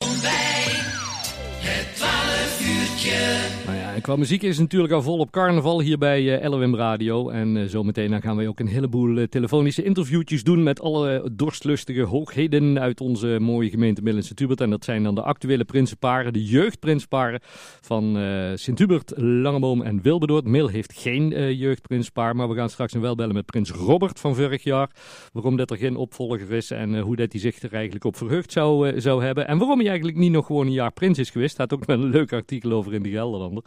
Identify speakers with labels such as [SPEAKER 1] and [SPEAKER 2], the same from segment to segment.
[SPEAKER 1] Nou En qua muziek is het natuurlijk al vol op carnaval hier bij eh, LOM Radio. En eh, zometeen dan gaan wij ook een heleboel eh, telefonische interviewtjes doen met alle eh, dorstlustige hoogheden uit onze mooie gemeente Middelen Sint-Hubert. En dat zijn dan de actuele prinsenparen, de jeugdprinsenparen van eh Sint-Hubert, Langeboom en Wilberdoord. Mil heeft geen eh, jeugdprinspaar, maar we gaan straks wel bellen met prins Robert van vorig jaar. Waarom dat er geen opvolger is en eh, hoe dat hij zich er eigenlijk op verheugd zou, eh, zou hebben. En waarom hij eigenlijk niet nog gewoon een jaar prins is geweest. Staat ook wel een leuk artikel over in de Gelderlander.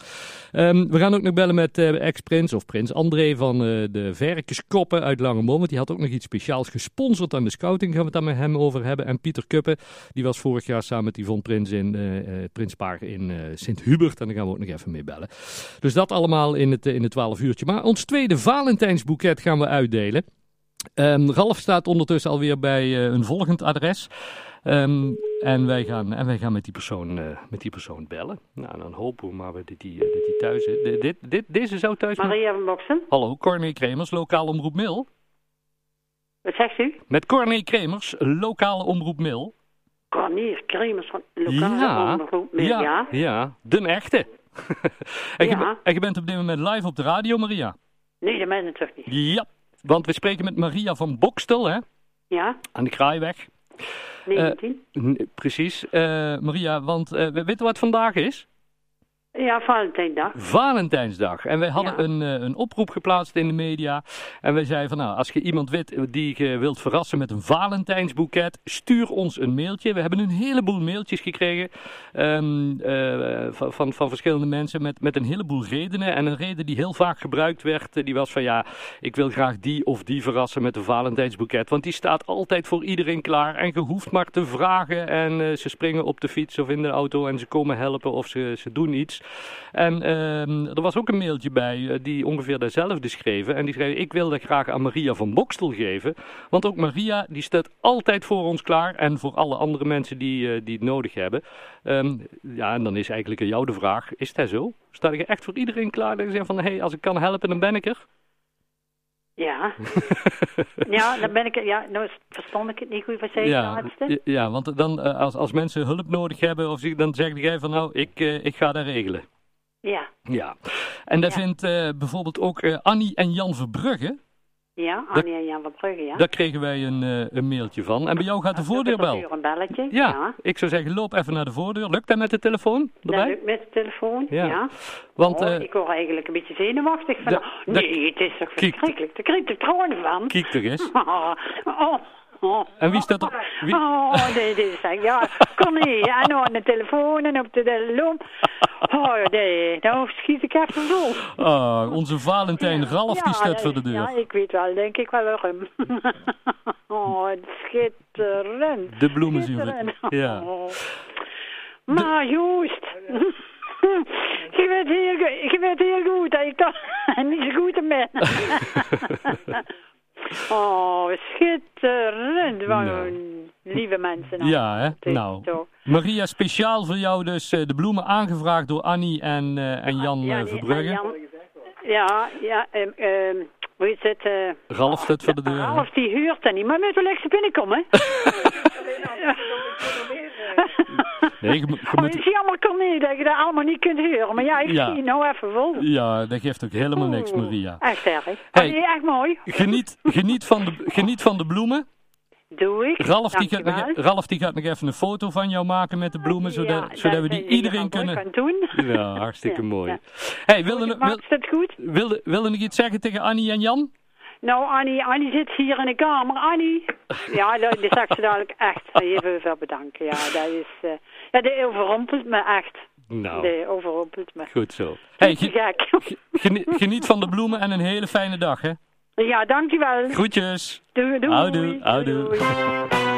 [SPEAKER 1] Ehm, we gaan ook nog bellen met eh, ex-prins of prins André van eh, de Verkjeskoppen uit Langemom. Want die had ook nog iets speciaals gesponsord aan de scouting. Gaan we het daar met hem over hebben. En Pieter Kuppen, die was vorig jaar samen met Yvonne Prins in eh, eh, Prinspaar in eh, Sint-Hubert. En daar gaan we ook nog even mee bellen. Dus dat allemaal in het, eh, in het 12 uurtje. Maar ons tweede Valentijnsboeket gaan we uitdelen. Ehm, Ralf staat ondertussen alweer bij eh, een volgend adres. Ehm, en, wij gaan, en wij gaan met die persoon, eh, met die persoon bellen. Nou, dan hopen we maar dat die, eh, dat die thuis is. Dit, dit, dit, deze zou thuis...
[SPEAKER 2] Maria van Boksen,
[SPEAKER 1] Hallo, Corné Kremers, lokale omroep Mil.
[SPEAKER 2] wat zegt u?
[SPEAKER 1] Met Corné Kremers, lokale omroep Mil.
[SPEAKER 2] Cornier Kremers van lokale ja. omroep. Meer, ja.
[SPEAKER 1] ja, ja, de echte. en, je,
[SPEAKER 2] Ja.
[SPEAKER 1] be- en je bent op dit moment live op de radio, Maria.
[SPEAKER 2] Nee, dat meen ik toch niet.
[SPEAKER 1] Ja, want we spreken met Maria van Bokstel, hè,
[SPEAKER 2] Ja,
[SPEAKER 1] aan de Kraaiweg. Eh.
[SPEAKER 2] 19.
[SPEAKER 1] N- Precies, Eh, Maria, want eh, we weten wat vandaag is?
[SPEAKER 2] ja, Valentijndag.
[SPEAKER 1] Valentijnsdag. En wij hadden
[SPEAKER 2] Ja.
[SPEAKER 1] een, eh, een oproep geplaatst in de media. En wij zeiden van nou, als je iemand weet die je wilt verrassen met een Valentijnsboeket, stuur ons een mailtje. We hebben een heleboel mailtjes gekregen ehm, eh, van, van, van verschillende mensen met, met een heleboel redenen. En een reden die heel vaak gebruikt werd, eh, die was van ja, ik wil graag die of die verrassen met een Valentijnsboeket. Want die staat altijd voor iedereen klaar. En je hoeft maar te vragen. En eh, ze springen op de fiets of in de auto en ze komen helpen of ze, ze doen iets. En ehm, er was ook een mailtje bij eh, die ongeveer dezelfde schreven. En die schreef, ik wil dat graag aan Maria van Bokstel geven. Want ook Maria, die staat altijd voor ons klaar. En voor alle andere mensen die, eh, die het nodig hebben. Ehm, ja, en dan is eigenlijk aan jou de vraag, is dat zo? Sta je echt voor iedereen klaar? Dat je zegt van, hé, hey, als ik kan helpen, dan ben ik er.
[SPEAKER 2] Ja. ja, dan ben ik... Ja, nou verstond ik het niet goed. Wat zei je
[SPEAKER 1] Ja,
[SPEAKER 2] laatste?
[SPEAKER 1] ja, want dan, eh, als, als mensen hulp nodig hebben, of zich, dan zeg jij van, nou, ik, eh, ik ga dat regelen.
[SPEAKER 2] Ja.
[SPEAKER 1] Ja, en dat
[SPEAKER 2] Ja.
[SPEAKER 1] vindt eh, bijvoorbeeld ook eh, Annie en Jan Verbrugge.
[SPEAKER 2] Ja, Annie en Jan van Brugge, ja.
[SPEAKER 1] Daar kregen wij een, eh, een mailtje van. En bij jou gaat de voordeur
[SPEAKER 2] Ah, Dat is natuurlijk
[SPEAKER 1] wel.
[SPEAKER 2] een belletje,
[SPEAKER 1] Ja,
[SPEAKER 2] ja.
[SPEAKER 1] ik zou zeggen, loop even naar de voordeur. Lukt dat met de telefoon
[SPEAKER 2] Dat
[SPEAKER 1] erbij?
[SPEAKER 2] lukt met de telefoon,
[SPEAKER 1] Ja.
[SPEAKER 2] ja.
[SPEAKER 1] Want
[SPEAKER 2] Oh,
[SPEAKER 1] eh,
[SPEAKER 2] ik word eigenlijk een beetje zenuwachtig van...
[SPEAKER 1] dat- dat-
[SPEAKER 2] nee, het is toch
[SPEAKER 1] Kiek.
[SPEAKER 2] verschrikkelijk. Daar krijg ik gewoon van.
[SPEAKER 1] kiek er eens.
[SPEAKER 2] Oh, oh, oh.
[SPEAKER 1] En wie staat er- wie-
[SPEAKER 2] Oh, nee, dit is echt- ja, kon niet. En aan de telefoon en op de telefoon. Oh, nee, nou schiet ik even vol.
[SPEAKER 1] Ah, onze Valentijn Ralf, die staat
[SPEAKER 2] ja,
[SPEAKER 1] voor de deur.
[SPEAKER 2] Ja, ik weet wel, denk ik wel waarom. oh, schitterend.
[SPEAKER 1] De bloemen zien we.
[SPEAKER 2] Schitterend.
[SPEAKER 1] Ja.
[SPEAKER 2] Oh. Maar Joost, je weet heel, go- je weet heel goed dat ik daar niet zo goed in ben. oh, schitterend. Wat
[SPEAKER 1] Nou.
[SPEAKER 2] een lieve mensen. allemaal.
[SPEAKER 1] Ja,
[SPEAKER 2] Het
[SPEAKER 1] hè?
[SPEAKER 2] is
[SPEAKER 1] Nou.
[SPEAKER 2] toch-
[SPEAKER 1] Maria, speciaal voor jou dus eh, de bloemen aangevraagd door Annie en, eh, en Jan
[SPEAKER 2] Ja,
[SPEAKER 1] eh,
[SPEAKER 2] die-
[SPEAKER 1] Verbrugge.
[SPEAKER 2] Ah, Jan- Ja, ja, ehm, ehm, hoe is het? eh,
[SPEAKER 1] Ralf staat voor de deur. hè?
[SPEAKER 2] Ralf die huurt en niet, maar met Alexa binnenkomen.
[SPEAKER 1] Nee, je, moet- je
[SPEAKER 2] Oh, het
[SPEAKER 1] moet...
[SPEAKER 2] is jammer, kan niet, dat je dat allemaal niet kunt huren. Maar ja, ik
[SPEAKER 1] Ja.
[SPEAKER 2] zie het nou even vol.
[SPEAKER 1] Ja, dat geeft ook helemaal niks, Maria.
[SPEAKER 2] Echt erg. Oh,
[SPEAKER 1] Hey.
[SPEAKER 2] nee, echt mooi.
[SPEAKER 1] Geniet, geniet, van de, geniet van de bloemen.
[SPEAKER 2] Doe ik.
[SPEAKER 1] Ralf die, gaat nog,
[SPEAKER 2] Dankjewel.
[SPEAKER 1] e- Ralf die gaat nog even een foto van jou maken met de bloemen, zodat,
[SPEAKER 2] Ja,
[SPEAKER 1] zodat we die
[SPEAKER 2] dat zijn jullie
[SPEAKER 1] iedereen
[SPEAKER 2] allemaal
[SPEAKER 1] kunnen...
[SPEAKER 2] Kan doen.
[SPEAKER 1] Ja, hartstikke
[SPEAKER 2] Ja,
[SPEAKER 1] mooi.
[SPEAKER 2] ja.
[SPEAKER 1] Hey, wilde, nog- wil,
[SPEAKER 2] Maakt het goed?
[SPEAKER 1] wilde, wilde nog iets zeggen tegen Annie en Jan?
[SPEAKER 2] Nou, Annie, Annie zit hier in de kamer. Annie! Ja, dat dat zag ze dadelijk echt even veel bedanken. Ja, dat is... eh, ja, die overrompelt me echt.
[SPEAKER 1] Nou,
[SPEAKER 2] Die overrompelt me.
[SPEAKER 1] goed zo. Hey,
[SPEAKER 2] Te
[SPEAKER 1] ge-
[SPEAKER 2] gek.
[SPEAKER 1] ge- geniet, geniet van de bloemen en een hele fijne dag, hè.
[SPEAKER 2] Ja, dankjewel.
[SPEAKER 1] Groetjes.
[SPEAKER 2] Doei, doei.
[SPEAKER 1] Houdoe, houdoe.
[SPEAKER 2] Doei, doei.